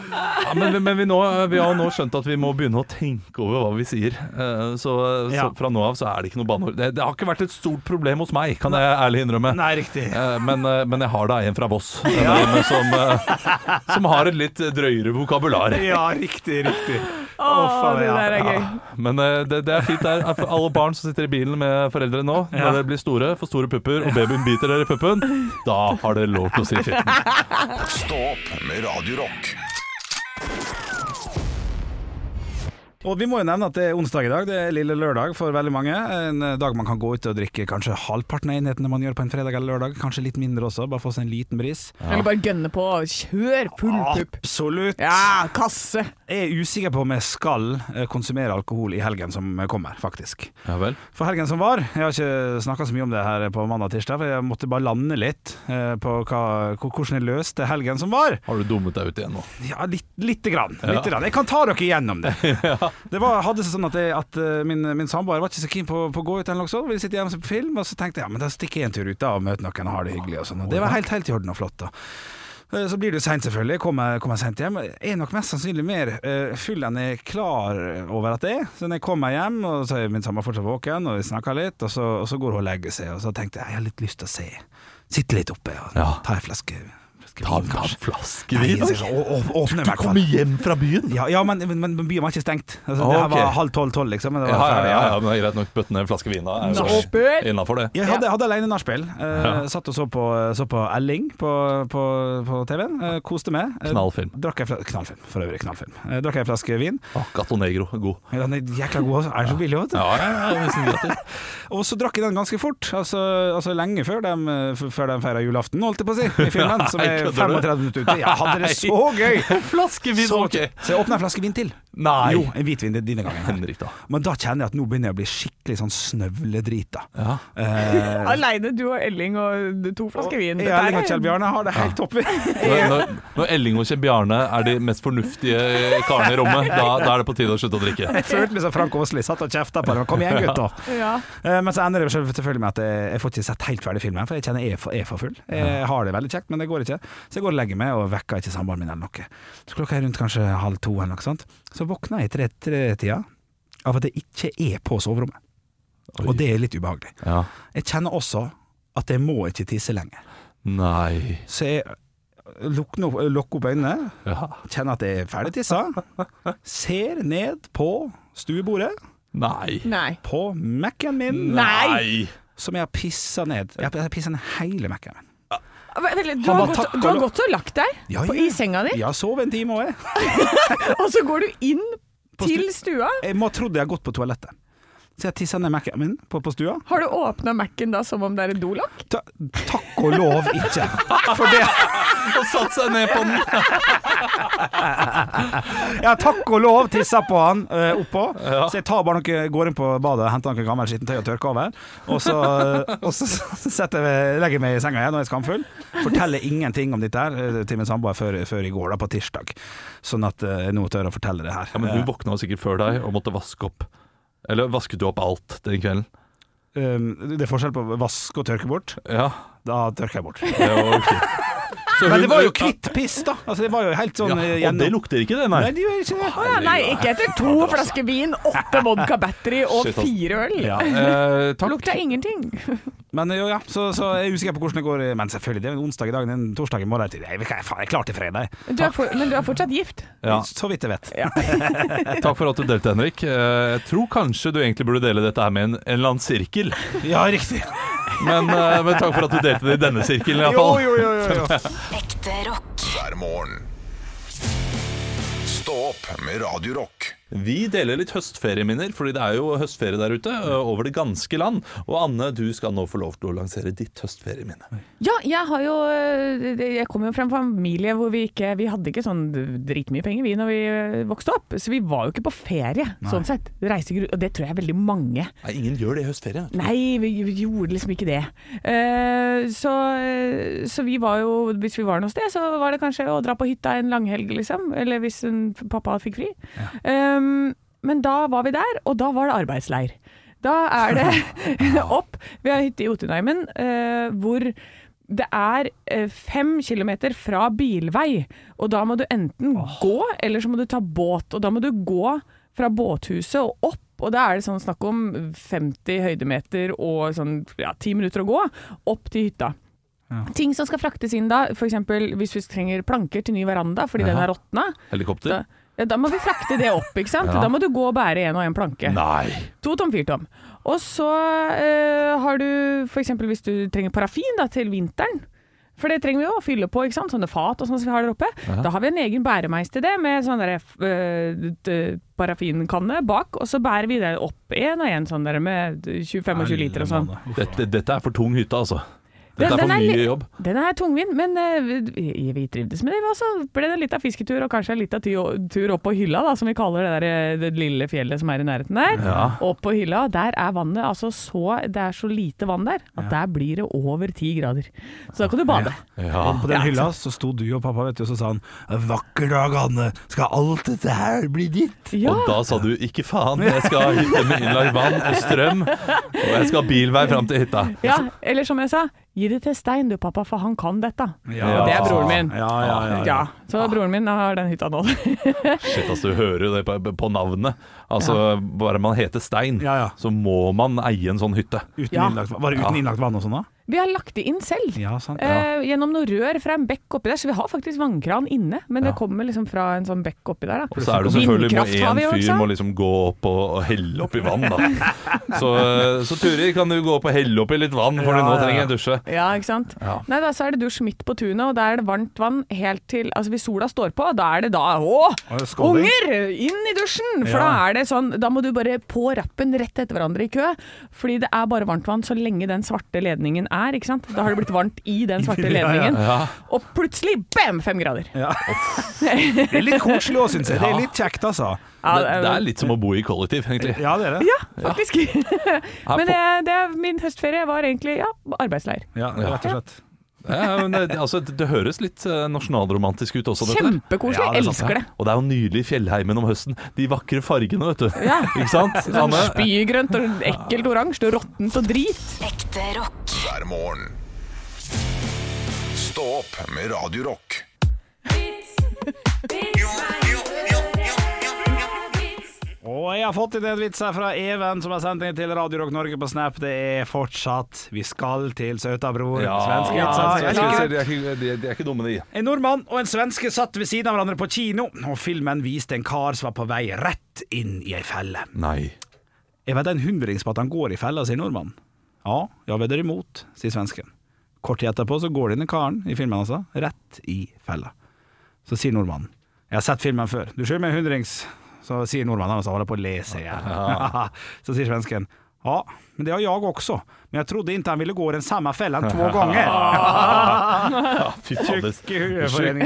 Ja, men men vi, nå, eh, vi har nå skjønt at vi må begynne å tenke over hva vi sier. Eh, Så, så
Ja.
fra nå av så er det ikke noe banneord. Det, det har ikke vært et stort problem hos meg, kan jeg ærlig innrømme.
Nei, riktig.
Eh, Men, eh, men jeg har da en fra Voss eh, men som, eh, som har et litt drøyere vokabular.
Ja, riktig, riktig.
Å,
faen,
det
ja.
der er gøy.
Men eh, det, det er fint der. For alle barn som sitter i bilen med foreldre nå, når
Ja.
dere blir store, får store pupper, og babyen biter dere i puppen, da har dere lov til å si fitten.
Stå opp med Radio Rock.
Og vi må jo nevne at det er onsdag i dag, det er lille lørdag for veldig mange. En eh, dag man kan gå ut og drikke kanskje halvparten av enhetene man gjør på en fredag eller lørdag. Kanskje litt mindre også, bare få seg en liten bris.
Eller bare gønne på. Kjør full
Ah.
pupp.
Absolutt.
Ja, kasse.
Jeg er usikker på om jeg skal eh, konsumere alkohol i helgen som kommer, faktisk.
Ja vel.
For helgen som var, jeg har ikke snakka så mye om det her på mandag og tirsdag, for jeg måtte bare lande litt eh, på hva, hvordan jeg løste helgen som var.
Har du dummet deg ut igjen nå?
Ja, litt, lite grann. Lite grann. Jeg kan ta dere igjennom det. Det var, hadde seg sånn at, jeg, at eh, min, min samboer var ikke så keen på, på å gå ut eller noe sånt. Ville sitte hjemme og se på film, og så tenkte jeg ja, men da stikker jeg en tur ut da og møter noen og har det hyggelig og sånn. Og det var helt, helt i orden og flott, da. Eh, Så blir det jo seint, selvfølgelig. Kommer, kommer sent hjem. Jeg er nok mest sannsynlig mer eh, full enn jeg er klar over at jeg er. Så når jeg kommer hjem, og så er min samboer fortsatt våken, og vi snakker litt, og så, og så går hun og legger seg. Og så tenkte jeg jeg har litt lyst til å se. Sitte litt oppe og
Ja.
ta ei flaske, flaske
Ta
vin,
en
kanskje.
flaske
Nei,
vin.
jeg sier, å- å- åpne i hvert fall.
hjem fra byen?
Ja, ja men, men, men byen var ikke stengt. Altså,
Ah,
Det her var
ok.
halv tolv-tolv, liksom. Men det
Ja,
var
ja,
ferdig,
ja,
ja.
men det er greit nok. Bøtten ned en flaske vin da. er jo
Nachspiel.
Innenfor det.
Jeg hadde, hadde alene nachspiel. Eh, Satt og så på, så på Elling på, på, på TV-en. Eh, koste meg. Eh,
Knallfilm.
Drakk jeg fla knallfilm, for øvrig. Knallfilm. Eh, drakk jeg en flaske vin.
Å, Gato Negro, god.
Den er jækla god, altså. Er så billig, vet du.
Ja, ja, ja, hvis den er gratis.
Og så drakk jeg den ganske fort. Altså, altså lenge før de, f- før de feira julaften, holdt jeg på å si, i Finland. Som
Nei,
er
kødder du?
35 minutter ute. Jeg hadde det så gøy!
Flaskevin,
Så,
ok.
så jeg åpna en flaske vin til.
Nei.
Jo, en hvitvin det er dine gangen.
Henrik, da.
Men da kjenner jeg at nå begynner jeg å bli skikkelig sånn snøvledrita.
Ja.
Eh,
Aleine, du og Elling og to flasker vin.
Jeg
Dette
er
er-
Eh, Kjell Bjarne har det helt topp.
Når, når, når Elling og Kjell Bjarne er de mest fornuftige karene i rommet, da, da er det på tide å slutte å drikke.
Jeg følte meg som Frank Åsli, satt og kjefta på dem. Kom igjen, gutter.
Ja.
Eh, Men så ender det selv- selvfølgelig med at jeg, jeg får ikke sett helt ferdig filmen, for jeg kjenner jeg er for, jeg er for full. Jeg har det veldig kjekt, men det går ikke. Så jeg går og legger meg og vekker ikke samboeren min eller noe. Så klokka er rundt kanskje halv to eller noe sånt. Så våkner jeg i tre- tre-tida av at jeg ikke er på soverommet. Og det er litt ubehagelig.
Ja.
Jeg kjenner også at jeg må ikke tisse lenger.
Nei.
Så jeg lukker opp, lukker opp øynene,
Ja.
kjenner at jeg er ferdig tissa, ser ned på stuebordet,
Nei.
Nei.
på Mac-en min,
Nei.
som jeg har pissa ned. Jeg har- jeg har pissa ned hele Mac-en min.
Vel, Du har,
Han var
gått,
takk-
du har gått og lagt deg
Ja,
på,
ja.
i senga di,
Jeg har sovet en time òg, jeg.
og så går du inn
På
til stua.
Jeg må ha trodd jeg har gått på toalettet. Så jeg tissa ned Mac-en min på, på stua.
Har du åpna Mac-en da som om det er et dolokk?
Ta, takk og lov ikke. For det
Og satt seg ned på den.
Ja, takk og lov tissa på han eh, oppå. Så jeg tar bare noe, går inn på badet, henter noe gammelt skittent tøy og tørker over. Og så, og så setter jeg, legger jeg meg i senga igjen og er skamfull. Forteller ingenting om dette her eh, til min samboer før, før i går, da, på tirsdag. Sånn at eh, jeg nå tør å fortelle det her. Eh,
Ja, men hun våkna sikkert før deg og måtte vaske opp. Eller vasket du opp alt den kvelden?
Eh, um, det er forskjell på vask og tørke bort.
Ja.
Da tørker jeg bort.
Det var ok. Så
Men
hun-
det var jo kvitt piss, da! Altså, det var jo helt sånn
Ja,
eh,
og det
gjennom-
lukter ikke det,
Nei,
nei.
det gjør ikke det.
Å ja, nei, ikke etter to flasker vin, åtte vodka battery og
Shit, ass.
fire øl.
Ja. Eh, takk.
Lukta ingenting.
Men jo, ja, så, så jeg er usikker på hvordan det går. eh, Men selvfølgelig, det er jo en onsdag i dag, det er en torsdag i morgen. Jeg, jeg, jeg, jeg er klar til fredag.
Du er for, men du er fortsatt gift.
Ja.
Så vidt jeg vet.
Takk for at du delte, Henrik. Eh, Jeg tror kanskje du egentlig burde dele dette her med en, en eller annen sirkel.
Ja, riktig.
Men, eh, men takk for at du delte det i denne sirkelen, iallfall.
jo, jo, jo, jo.
Ekte rock.
hver morgen. opp med Radio Rock.
Vi deler litt høstferieminner, fordi det er jo høstferie der ute ø, over det ganske land. Og Anne, du skal nå få lov til å lansere ditt høstferieminne.
Ja, jeg har jo øh, Jeg kommer jo fra en familie hvor vi ikke Vi hadde ikke sånn dritmye penger vi når vi øh, vokste opp, så vi var jo ikke på ferie sånn sett. Reisegru og det tror jeg er veldig mange.
Nei, ingen gjør det i høstferien. vet du.
Nei, vi, vi gjorde liksom ikke det. Eh, så, øh, så vi var jo Hvis vi var noe sted, så var det kanskje å dra på hytta en langhelg, liksom. Eller hvis en, pappa fikk fri. Um, men da var vi der, og da var det arbeidsleir. Da er det opp. Vi har hytte i Jotunheimen eh, hvor det er eh, fem kilometer fra bilvei, og da må du enten gå, eller så må du ta båt. Og da må du gå fra båthuset og opp, og da er det sånn snakk om 50 høydemeter og sånn ja, 10 minutter å gå, opp til hytta. Ting som skal fraktes inn da, f.eks. hvis vi trenger planker til ny veranda fordi den
Ja.
er råtna. Da,
Helikopter?
ja, da må vi frakte det opp, ikke sant? Da må du gå og bære en og en planke.
Nei.
To tom, fire tom. Og så eh, har du f.eks. hvis du trenger parafin da, til vinteren. For det trenger vi jo å fylle på, ikke sant? sånne fat og sånn som vi har der oppe. Da har vi en egen bæremeis til det, med sånn derre eh, d- parafinkanne bak, og så bærer vi det opp én og én sånn der med 25 liter og sånn.
Dette, dette er for tung hytte, altså.
Den-
Dette er
den
for mye
litt-
jobb.
Den er tungvint, men eh, vi, vi trivdes med det. Og så ble det litt av fisketur, og kanskje litt av ty- tur opp på hylla, da, som vi kaller det, der, eh, det lille fjellet som er i nærheten der.
Ja.
Opp på hylla, der er vannet altså så Det er så lite vann der at der blir det over ti grader. Så da kan du bade.
Ja.
På den hylla så sto du og pappa, vet du, og så sa han 'Vakker dag, Anne. Skal alt dette her bli ditt?'
Ja,
Og da sa du 'ikke faen, jeg skal ha hytte med innlagt vann og strøm', og jeg skal ha bilvei fram til hytta.
ja! Eller som jeg sa, gi det til Stein du, pappa, for han kan dette.
Ja.
Og det er broren min.
Ja, ja, ja. ja.
Ja, så broren min har den hytta nå.
Shit, altså, du hører jo det på, på navnet. Altså, Bare man heter Stein,
Ja, ja.
så må man eie en sånn hytte.
Uten
Ja.
innlagt, var det uten innlagt vann og sånn, da?
Vi har lagt det inn selv.
Ja, sant.
Eh, gjennom noen rør fra en bekk oppi der, så vi har faktisk vannkran inne, men det kommer liksom fra en sånn bekk oppi der. Da.
Og så er det selvfølgelig må
Vindkraft har
én
vi jo, ikke
fyr
sant?
må liksom gå opp og, og helle opp i vann, da. Så, så Turi, kan du gå opp og helle opp i litt vann, for
Ja,
nå
ja,
trenger
ja.
jeg dusje.
Ja, ikke sant? Nei, da så er det dusj midt på tunet, og da er det varmt vann helt til Altså hvis sola står på, da er det da Å!
Og det er skåling.
Unger! Inn i dusjen! For
Ja.
da er det sånn Da må du bare på rappen rett etter hverandre i kø, fordi det er bare varmt vann så lenge den svarte ledningen er, ikke sant? Da har det blitt varmt i den svarte
Ja, ja.
ledningen,
Ja.
og plutselig bam! Fem grader.
Det er litt koselig òg, syns jeg. Det er litt kjekt, altså.
Ja,
det, det er litt som å bo i kollektiv, egentlig.
Ja, det er det.
Faktisk. Men det, det er min høstferie var egentlig ja, arbeidsleir.
Ja, rett og slett.
Ja, men det, altså, det, det høres litt eh, nasjonalromantisk ut også, dette. der.
Kjempekoselig.
Ja, det er sant,
Elsker det.
Og det er jo nydelig i fjellheimen om høsten. De vakre fargene, vet du.
Ja.
Ikke sant?
Sånn
Anne?
spygrønt og ekkelt oransje og råttent og drit.
Ekte rock.
hver morgen. Stå opp med Radio Rock.
Og jeg har fått inn en vits her fra Even, som har sendt inn til Radio Rock Norge på Snap. Det er fortsatt 'Vi skal til Sautabroer'.
Ja,
Svenske vitser. Jeg
jeg
liker
skal si,
det.
de, er ikke, de, de er ikke dumme, de.
En nordmann og en svenske satt ved siden av hverandre på kino, og filmen viste en kar som var på vei rett inn i ei felle.
Nei.
Jeg vet en hundrings på at han går i fella, sier nordmannen. Ja, jeg vedder imot, sier svensken. Kort tid etterpå så går denne karen, i filmen altså, rett i fella. Så sier nordmannen. Jeg har sett filmen før. Du skylder meg en hundrings. Så sier nordmannen, han holder på å le seg i hjel. Så sier svensken. Ja, men det har jeg også. Men jeg trodde ikke han ville gå i den samme fellen to ganger.
Ja, fy fader.
Tjukk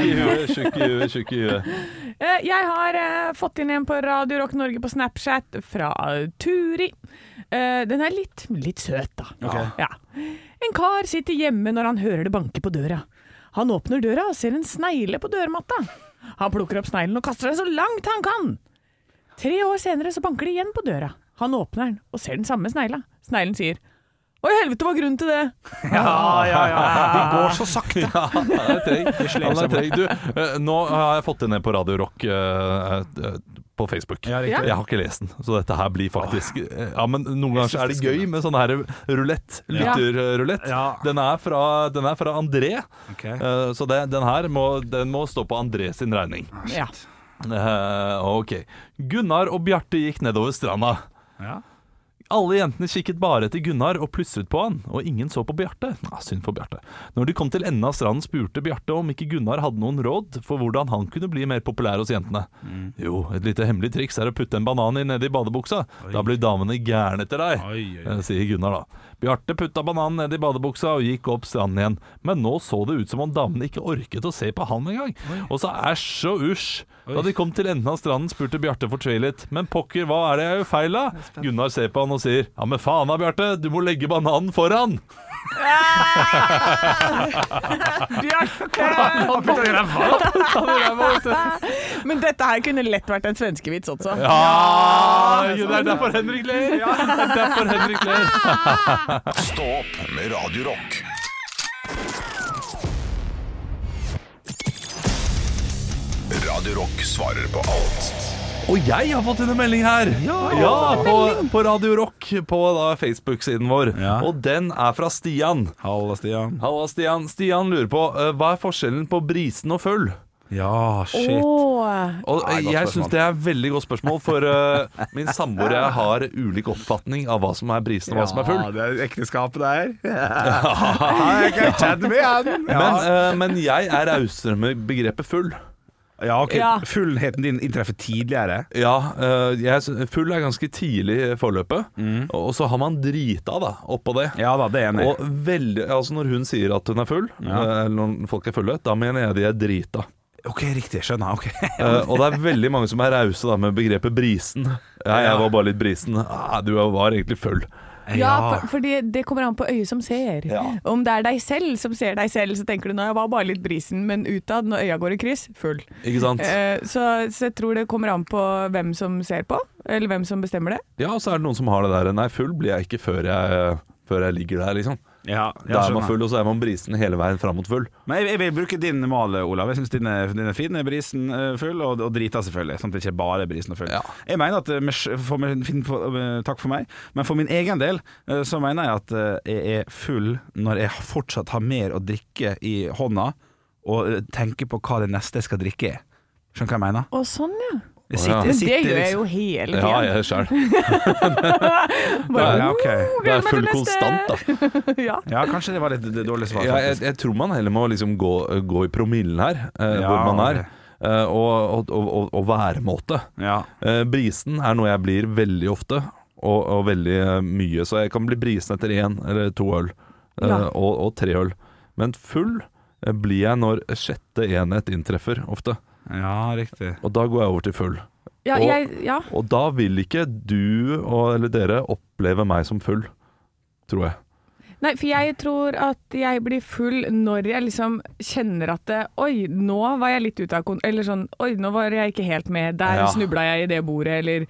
Tjukk
i huet,
i huet, tjukk i huet, tjukk i huet.
Eh, Jeg har eh, fått inn en på Radio Rock Norge på Snapchat fra eh, Turi. Eh, Den er litt, litt søt, da. Ja. En kar sitter hjemme når han hører det banke på døra. Han åpner døra og ser en snegle på dørmatta. Han plukker opp sneglen og kaster den så langt han kan. Tre år senere så banker det igjen på døra. Han åpner den og ser den samme snegla. Sneglen sier Å i helvete, hva er grunnen til det?
Ja, ja, ja. De går så sakte.
Ja, han er treg. Han er treg. Du, eh, nå har jeg fått den ned på Radio Rock eh, eh, på Facebook.
Ja, riktig.
Ja.
Jeg har ikke lest den, så dette her blir faktisk eh, Ja, men noen ganger så er det gøy med sånn her rulett.
Ja.
Lytterrulett.
Ja.
Den, er fra- den er fra André,
Ok.
eh, så det, den her må, den må stå på André sin regning.
Ja.
Eh, ok. Gunnar og Bjarte gikk nedover stranda.
Ja.
Alle jentene kikket bare etter Gunnar og plystret på han, og ingen så på Bjarte. Ah, synd for Bjarte. Når de kom til enden av stranden, spurte Bjarte om ikke Gunnar hadde noen råd for hvordan han kunne bli mer populær hos jentene. Jo, et lite hemmelig triks er å putte en banan i nedi badebuksa. Da blir damene gærne etter deg, eh, sier Gunnar da. Bjarte putta bananen nedi badebuksa og gikk opp stranden igjen, men nå så det ut som om damene ikke orket å se på han engang. Og så æsj og usj. Da de kom til enden av stranden, spurte Bjarte fortvilet. Men pokker, hva er det jeg gjør feil da? Gunnar ser på han og sier Ja, men faen da, Bjarte, du må legge bananen foran!
Bjarte! Men dette her kunne lett vært en svenskevits også.
Ja, det er derfor Henrik ler! Det er derfor Henrik ler.
Stå opp med Radio Rock. Radio Rock svarer på alt.
Og jeg har fått inn en melding her! Ja, på, på Radio Rock, på da Facebook-siden vår.
Ja.
Og den er fra Stian.
Halla, Stian.
Halla, Stian. Stian lurer på eh, hva er forskjellen på brisen og full?
Ja, shit.
Åh.
Og
Nei, godt
jeg syns
spørsmål.
det er et veldig godt spørsmål, for eh, min samboer og jeg har ulik oppfatning av hva som er brisen og hva som er full.
Ja, det er ekteskapet der. Jeg kan kjenne meg igjen. Ja.
Men, eh, men jeg er rausere med begrepet full.
ja, ok.
Ja.
Fullheten din inntreffer tidligere.
Ja, eh, jeg, sy- full er ganske tidlig i forløpet,
Mm.
og så har man drita da, oppå det.
Ja da, det er jeg enig. i.
Og veldig, altså når hun sier at hun er full, eh, eller når folk er fulle, da mener jeg de er drita.
Ok, riktig. Skjønner. ok
Eh, og det er veldig mange som er rause da med begrepet brisen. Ja, jeg var bare litt brisen. Ah, du var egentlig full.
Ja, for, fordi det kommer an på øyet som ser. Om det er deg selv som ser deg selv, så tenker du nå jeg var bare litt brisen, men utad, når øya går i kryss, full.
Ikke sant?
Eh, så, så jeg tror det kommer an på hvem som ser på, eller hvem som bestemmer det.
Ja, og så er det noen som har det der Nei, full blir jeg ikke før jeg, før jeg ligger der, liksom.
Ja,
Da er man full, og så er man brisen hele veien fram mot full.
Men jeg, jeg vil bruke din mal, Olav. Jeg syns din, er- din er fin. Brisen eh, full, og, og drita selvfølgelig. Sånn at det ikke bare er brisen og full.
Ja.
Jeg mener at eh, med sj- for min, fin- for, eh, Takk for meg. Men for min egen del eh, så mener jeg at eh, jeg er full når jeg fortsatt har mer å drikke i hånda, og eh, tenker på hva det neste jeg skal drikke er. Skjønner du hva jeg mener?
Å, sånn ja.
Jeg
Å, ja.
Men det
sitter
gjør jeg
liksom-
jo hele
Ja,
tiden.
jeg sjæl.
Bare,
Ja,
«Åh,
ok.
Det
gleder
er
meg
full
til neste!»
konstant, da.
ja.
Ja, kanskje det var litt d- dårlig svar.
Ja, jeg,
faktisk.
jeg tror man heller må liksom gå, gå i promillen her, eh,
Ja,
hvor man er,
ok.
eh, og, og, og, og væremåte.
ja.
Eh, brisen er noe jeg blir veldig ofte, og, og veldig eh, mye, så jeg kan bli brisen etter én eller to øl, eh,
Ja.
og, og tre øl. Men full eh, blir jeg når sjette enhet inntreffer, ofte.
ja, riktig.
Og da går jeg over til full.
Ja,
Og-
jeg, ja.
Og da vil ikke du og, eller dere oppleve meg som full, tror jeg.
Nei, for jeg tror at jeg blir full når jeg liksom kjenner at det, Oi, nå var jeg litt ute av kon... Eller sånn Oi, nå var jeg ikke helt med. Der
Ja.
snubla jeg i det bordet, eller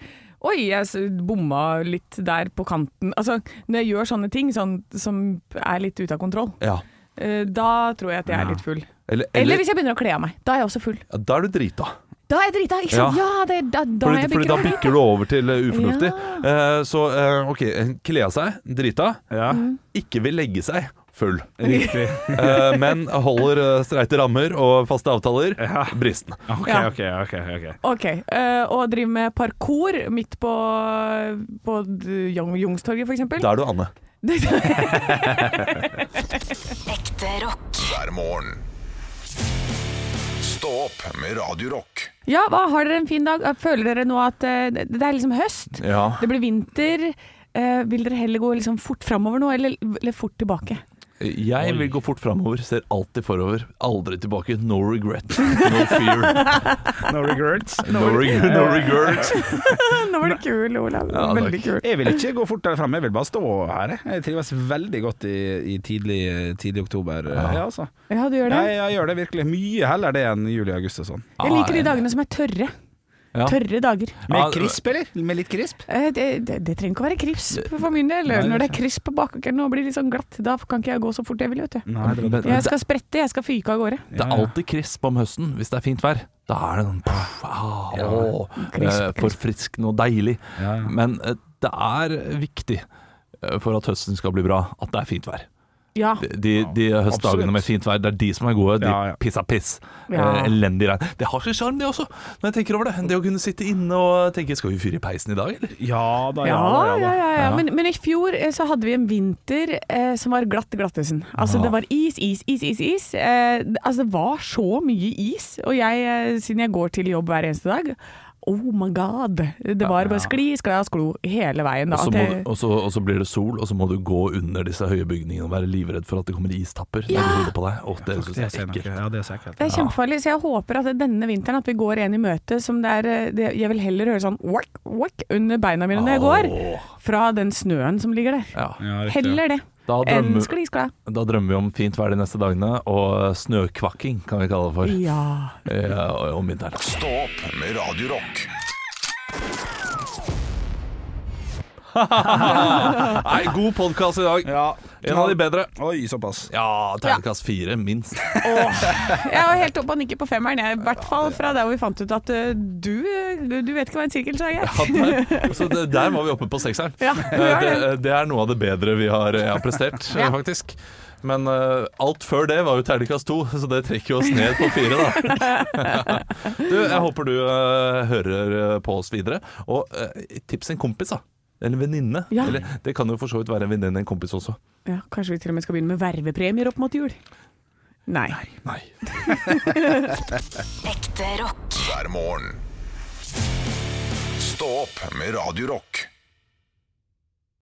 Oi, jeg s- bomma litt der på kanten. Altså, når jeg gjør sånne ting sånn, som er litt ute av kontroll,
Ja.
eh, da tror jeg at jeg er litt full.
Eller,
Eller
eller,
hvis jeg begynner å kle av meg. Da er jeg også full.
ja, da er du drita.
Da er jeg drita, ikke sant? Ja, det, er- da, da er
Fordi,
jeg
fordi da
bikker over.
bikker du over til eh, ufornuftig. Eh, så eh, OK, kle av seg, drita.
Ja,
Mm.
Ikke vil legge seg full.
riktig.
Eh, men holder eh, streite rammer og faste avtaler.
Ja.
Bristen.
Ok,
Ja.
ok, ok. ok
Ok, eh, og driver med parkour midt på, på d- Jung- Youngstorget, for eksempel.
Da er du Anne.
Ekte rock.
hver morgen. Stå opp med Radio Rock.
Ja, hva, har dere en fin dag? Føler dere nå at eh, det det er liksom høst?
Ja.
Det blir vinter. Eh, vil dere heller gå liksom fort framover nå, eller, eller fort tilbake?
Jeg vil gå fort framover. Ser alltid forover. Aldri tilbake. No regret. No fear.
No regrets.
No, reg no regret.
nå var det kul, Olav.
Ja, takk.
Veldig kul.
Jeg vil ikke gå fort der fremme, jeg vil bare stå her. jeg. Jeg trives veldig godt i, i tidlig, tidlig oktober. Ja, altså.
Ja, du gjør det.
jeg, jeg gjør det virkelig mye heller det enn juli og august og sånn.
Jeg liker de dagene som er tørre.
Ja.
Tørre dager.
Med
Ja, det-
krisp, eller? Med litt krisp?
Eh, det, det, det trenger ikke å være krisp for min del. Når det er krisp på bakåkeren og blir litt sånn glatt, da kan ikke jeg gå så fort jeg vil, vet du.
Nei, det var
Jeg skal sprette, jeg skal fyke av gårde.
Det er alltid krisp om høsten hvis det er fint vær. Da er det sånn pff, ah, åh, eh,
Krisp, krisp.
Forfriskende og deilig.
Ja, ja.
Men eh, det er viktig eh, for at høsten skal bli bra, at det er fint vær.
Ja.
De, de høstdagene
absolutt.
med fint vær, det er de som er gode. De
Ja, ja.
pissa piss.
Ja.
Eh, Elendig regn. Det har sin sjarm, det også, når jeg tenker over det. Det å kunne sitte inne og tenke Skal vi fyre i peisen i dag, eller?
Ja da, ja da.
Ja,
Ja, da.
ja, ja, ja. Men, men i fjor eh, så hadde vi en vinter eh, som var glatt glattesen. Altså det var is, is, is, is, is. Eh, det- altså det var så mye is, og jeg, eh, siden jeg går til jobb hver eneste dag, oh my god. Det var bare skli, sklas, sklo hele veien. Da.
Og så
At
må
jeg-
du- Og så og så blir det sol, og så må du gå under disse høye bygningene og være livredd for at det kommer istapper ned i hodet på deg. Åh, det synes
Det
jeg
ser
er
nok-
ekkelt.
ja, det ser ekkelt.
Det er kjempefarlig, så jeg håper at denne vinteren at vi går en i møte som det er eh, det, Jeg vil heller høre sånn wak, wak under beina mine når jeg går,
Åh.
fra den snøen som ligger der.
Ja.
Ja, riktig.
Heller det
Da
enn
drømmer-
skli, skla.
Da drømmer vi om fint vær de neste dagene, og snøkvakking kan vi kalle det for
Ja.
ja, om vinteren.
Stå opp med Radio Rock.
Nei, god podkast i dag.
Ja.
En av de bedre.
Oi, såpass.
Ja, terningkast fire, minst.
Jeg var helt oppe og nikket på femmeren, jeg. I hvert fall fra der hvor vi fant ut at eh, du, eh, du vet ikke hva en sirkelsag er.
Ja, der, så det, der var vi oppe på sekseren.
Ja, vi
Eh,
var
det,
det.
det er noe av det bedre vi har, jeg har prestert,
Ja.
eh, faktisk. Men eh, alt før det var jo terningkast to, så det trekker jo oss ned på fire, da. du, jeg håper du eh, hører eh, på oss videre. Og eh, tips en kompis, da. Eller venninne.
Ja.
Eller, Det kan jo for så vidt være en venninne, en kompis også.
Ja, kanskje vi til og med skal begynne med vervepremier opp mot jul? Nei.
Nei.
Ekte rock.
Hver morgen. Stå opp med Radio Rock.